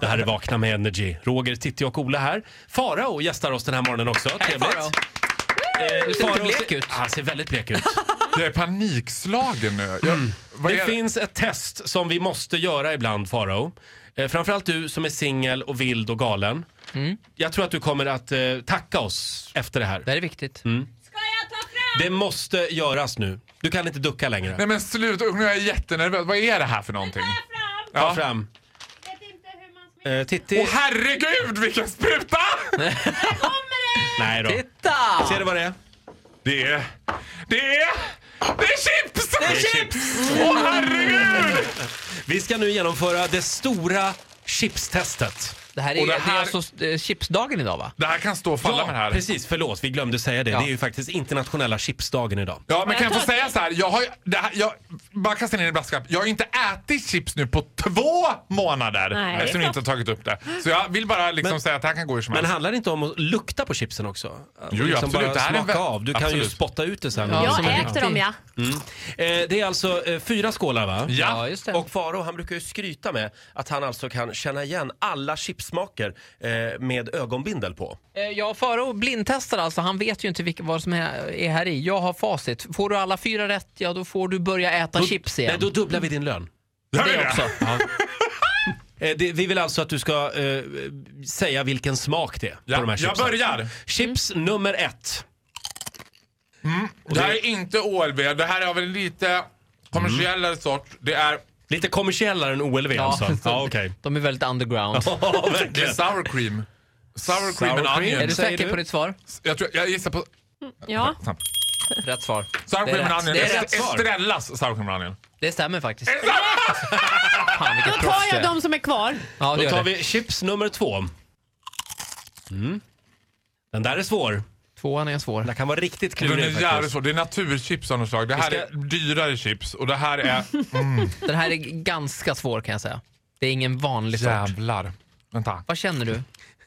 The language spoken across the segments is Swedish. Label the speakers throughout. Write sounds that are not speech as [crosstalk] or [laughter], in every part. Speaker 1: Det här är Vakna med Energy. Roger, Titti och Ola här. Farao gästar oss den här morgonen också. Trevligt.
Speaker 2: Farao.
Speaker 1: Eh,
Speaker 2: Du ser lite
Speaker 1: Farao ser-
Speaker 2: blek ut.
Speaker 1: Ja, Han ser väldigt blek
Speaker 2: [laughs]
Speaker 1: ut.
Speaker 3: Jag är panikslagen nu. Jag, vad
Speaker 1: Mm. Det
Speaker 3: är
Speaker 1: finns ett test som vi måste göra ibland, Farao. Eh, framförallt du som är singel och vild och galen.
Speaker 2: Mm.
Speaker 1: Jag tror att du kommer att eh, tacka oss efter det här.
Speaker 2: Det här är viktigt.
Speaker 1: Mm.
Speaker 4: Ska jag ta fram?
Speaker 1: Det måste göras nu. Du kan inte ducka längre.
Speaker 3: Nej men sluta, nu är jag jättenervös. Vad är det här för någonting?
Speaker 4: Ta fram?
Speaker 1: Ta fram.
Speaker 4: Vet inte hur man sminkar.
Speaker 1: Eh, Titti.
Speaker 3: Åh herregud vilken spruta!
Speaker 1: Nej då.
Speaker 2: Titta!
Speaker 1: Ser du vad det är?
Speaker 3: Det är... Det är... Det är chips! Det är
Speaker 1: chips!
Speaker 3: Åh herregud!
Speaker 1: Vi ska nu genomföra det stora chipstestet.
Speaker 2: Det här är,
Speaker 3: Och
Speaker 2: det
Speaker 3: det här-
Speaker 2: är alltså eh, chipsdagen idag va?
Speaker 3: Det här kan stå och falla med det här.
Speaker 1: precis. Förlåt, vi glömde säga det.
Speaker 2: Ja.
Speaker 1: Det är ju faktiskt internationella chipsdagen idag.
Speaker 3: Ja, men kan jag få säga så här? Jag har, ju- det här jag, bara kasta ner i brasklapp. Jag har ju inte ätit chips nu på två månader
Speaker 4: Nej.
Speaker 3: eftersom jag inte har tagit upp det. Så jag vill bara liksom säga att det här kan gå hur som
Speaker 1: Men
Speaker 3: helst.
Speaker 1: handlar det inte om att lukta på chipsen också? Att liksom
Speaker 3: Jo, jo, absolut.
Speaker 1: bara
Speaker 3: Det här är en
Speaker 1: smaka
Speaker 3: vä-
Speaker 1: av. Du kan ju
Speaker 3: absolut.
Speaker 1: spotta ut det sen.
Speaker 2: Ja,
Speaker 1: Som
Speaker 2: är
Speaker 4: jag
Speaker 1: en-
Speaker 4: äter dem ja.
Speaker 1: Eh, Det är alltså eh, fyra skålar va?
Speaker 2: Ja,
Speaker 3: Ja.
Speaker 2: just det.
Speaker 1: Och Faro han brukar ju skryta med att han alltså kan känna igen alla chipsmaker eh, med ögonbindel på.
Speaker 2: Eh, Ja, Farao blindtestar alltså. Han vet ju inte vilka, vad som är, är här i. Jag har facit. Får du alla fyra rätt, ja då får du börja äta chips igen.
Speaker 1: Nej, Eh, då dubblar vi din lön.
Speaker 3: Gör vi
Speaker 2: det också.
Speaker 1: Eh, det, vi vill alltså att du ska eh, säga vilken smak det är
Speaker 3: Ja,
Speaker 1: på de här
Speaker 3: jag
Speaker 1: chipsen.
Speaker 3: börjar.
Speaker 1: Chips nummer ett.
Speaker 3: Det här är inte OLB. Det här är av en lite kommersiellare sort. Det är,
Speaker 1: Lite kommersiellare än OLV alltså?
Speaker 3: [laughs]
Speaker 1: Ja, okej.
Speaker 2: De är väldigt underground.
Speaker 1: Ja,
Speaker 3: det är
Speaker 1: verkligen.
Speaker 3: sour cream. Sour cream
Speaker 1: Sour
Speaker 3: and
Speaker 1: cream.
Speaker 2: Är
Speaker 3: onion.
Speaker 2: du
Speaker 1: Säger
Speaker 2: säker
Speaker 1: du?
Speaker 2: på ditt svar?
Speaker 3: Jag, tror, jag gissar på...
Speaker 4: Ja.
Speaker 3: Snabbt.
Speaker 2: Rätt svar.
Speaker 3: Sour
Speaker 2: Det är
Speaker 3: cream
Speaker 2: rätt.
Speaker 3: and onion.
Speaker 2: Det är rätt svar.
Speaker 3: Estrellas sour cream and onion.
Speaker 2: Det stämmer faktiskt. Fan vilket
Speaker 4: Tar
Speaker 2: proffs du
Speaker 4: jag
Speaker 2: är.
Speaker 4: de som är kvar?
Speaker 2: Ja, det
Speaker 1: Då
Speaker 2: gör
Speaker 1: tar
Speaker 2: det.
Speaker 1: vi chips nummer två. Mm. Den där är svår.
Speaker 2: Tvåan är svår.
Speaker 1: Den kan vara riktigt
Speaker 3: Den
Speaker 1: klurig
Speaker 3: är jävligt
Speaker 1: faktiskt.
Speaker 3: svår. Det är naturchips av något slag. Det här
Speaker 1: ska-
Speaker 3: är dyrare chips och det här är...
Speaker 2: Den här är ganska svår kan jag säga. Det är ingen vanlig sort.
Speaker 3: Jävlar. Vänta.
Speaker 2: Vad känner du?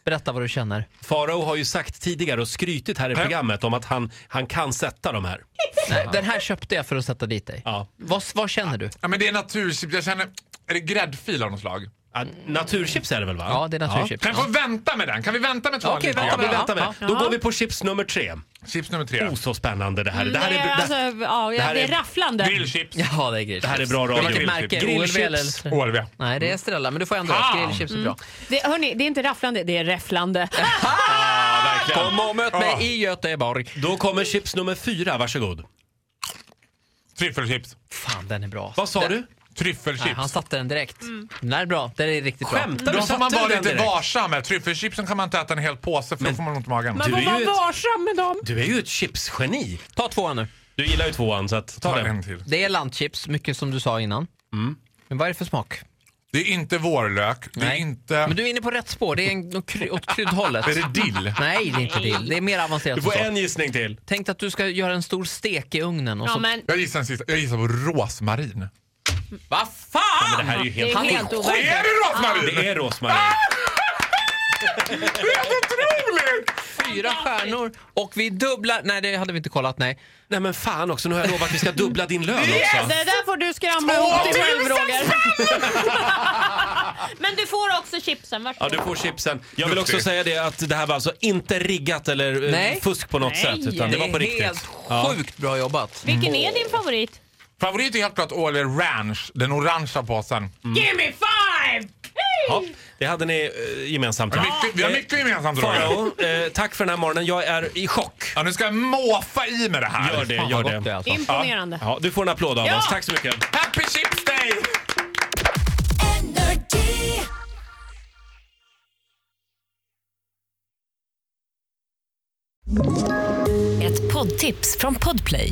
Speaker 2: Berätta vad du känner.
Speaker 1: Farao har ju sagt tidigare och skrytit här i programmet om att han, han kan sätta de här.
Speaker 2: Nej, den här köpte jag för att sätta dit dig.
Speaker 1: Ja.
Speaker 2: Vad, vad känner du?
Speaker 3: Ja, men det är naturchips. Jag känner... Är det gräddfil av något slag?
Speaker 1: Ja, Naturchips är det väl va?
Speaker 2: Ja, det är naturchips.
Speaker 3: Kan vi få vänta med den? Kan vi vänta med tvåan
Speaker 2: Okej,
Speaker 3: lite
Speaker 1: Ja,
Speaker 3: grann?
Speaker 1: vi väntar med.
Speaker 2: Ja.
Speaker 1: Då går vi på chips nummer tre.
Speaker 3: Chips nummer tre.
Speaker 1: Oh, så spännande det här. Det här
Speaker 4: Nej,
Speaker 1: är,
Speaker 4: alltså,
Speaker 1: det,
Speaker 4: ja,
Speaker 1: här
Speaker 4: det
Speaker 1: är-
Speaker 4: är rafflande.
Speaker 3: Grillchips.
Speaker 2: Ja, det är grillchips.
Speaker 1: det här är bra
Speaker 3: Det var
Speaker 1: radio.
Speaker 3: grillchips.
Speaker 2: Märke,
Speaker 1: Grillchips.
Speaker 2: OLV eller...
Speaker 3: OLW.
Speaker 2: Nej, det är Estrella, men du får ändå rätt.
Speaker 3: Fan!
Speaker 2: Grillchips är bra.
Speaker 4: Det, hörni, det är inte rafflande, det är räfflande.
Speaker 2: Kom och möt
Speaker 3: mig
Speaker 2: i Göteborg.
Speaker 1: Då kommer chips nummer fyra, varsågod.
Speaker 3: Tryffelchips.
Speaker 2: Fan, den är bra.
Speaker 1: Vad sa
Speaker 2: Den-
Speaker 1: du?
Speaker 2: Nej, han
Speaker 3: Tryffelchips.
Speaker 2: satte den direkt. Den här är bra. Den är riktigt bra.
Speaker 1: Skämtar du?
Speaker 3: Då får man
Speaker 1: Satte du
Speaker 3: vara
Speaker 1: den
Speaker 3: lite
Speaker 1: direkt?
Speaker 3: varsam med. Tryffelchipsen kan man inte äta en hel påse för då får man ont i magen.
Speaker 1: Du
Speaker 4: Man
Speaker 1: är
Speaker 4: får
Speaker 1: ju
Speaker 4: vara
Speaker 1: ett-
Speaker 4: varsam med dem.
Speaker 1: Du är ju ett chipsgeni.
Speaker 2: Ta tvåan nu.
Speaker 1: Du gillar ju tvåan så att
Speaker 3: Ta
Speaker 1: den.
Speaker 3: en till.
Speaker 2: Det är landchips, mycket som du sa innan. Men vad är det för smak?
Speaker 3: Det är inte vårlök. Det är
Speaker 2: Nej.
Speaker 3: inte...
Speaker 2: Men du är inne på rätt spår. Det är en, något kry, åt kryddhållet.
Speaker 3: Är det dill?
Speaker 2: Nej, det är inte dill. Det är mer avancerat
Speaker 1: Du
Speaker 2: än
Speaker 1: får
Speaker 2: så.
Speaker 1: en gissning till.
Speaker 2: Tänk dig att du ska göra en stor stek i ugnen och
Speaker 4: Ja,
Speaker 2: så...
Speaker 4: men
Speaker 3: Jag gissar, en sista. jag gissar på rosmarin.
Speaker 2: Vad
Speaker 1: Men det
Speaker 2: fan!
Speaker 1: här är ju
Speaker 4: det
Speaker 1: helt...
Speaker 4: är
Speaker 2: Han är
Speaker 4: helt
Speaker 3: Är
Speaker 4: overkligt.
Speaker 3: det rosmarin?
Speaker 1: Det är Ah! rosmarin.
Speaker 3: Otroligt!
Speaker 2: Fyra stjärnor och vi dubblar... Nej, det hade vi inte kollat. Nej.
Speaker 1: Nej men fan också, nu har jag lovat att vi ska dubbla din lön också.
Speaker 4: Det där får du skramla ihop dig själv Roger. [laughs] Men du får också chipsen,
Speaker 1: Ja,
Speaker 4: varsågod.
Speaker 1: du får chipsen. Jag vill
Speaker 3: Duktig.
Speaker 1: också säga det att det här var alltså inte riggat eller eh,
Speaker 2: Nej.
Speaker 1: fusk på något
Speaker 4: Nej.
Speaker 1: sätt. Utan det var på
Speaker 2: är helt
Speaker 1: riktigt. Ja.
Speaker 2: sjukt bra jobbat.
Speaker 4: Vilken är din favorit?
Speaker 3: Favorit är helt klart Åle Ranch, den orangea påsen.
Speaker 4: Give me five!
Speaker 1: Ja, det hade ni eh, gemensamt. va?
Speaker 3: Mycket, vi har mycket gemensamt Roger.
Speaker 1: Farao, eh, tack för den här morgonen. Jag är i chock.
Speaker 3: Ja, nu ska jag måfa i med det här.
Speaker 1: Gör det,
Speaker 2: Fan,
Speaker 1: gör
Speaker 2: vad gott
Speaker 1: det.
Speaker 2: är, alltså.
Speaker 4: Imponerande.
Speaker 1: Ja, du får en applåd av
Speaker 4: Ja.
Speaker 1: oss. Tack så mycket.
Speaker 3: Happy Chips Day!
Speaker 5: Ett poddtips från Podplay.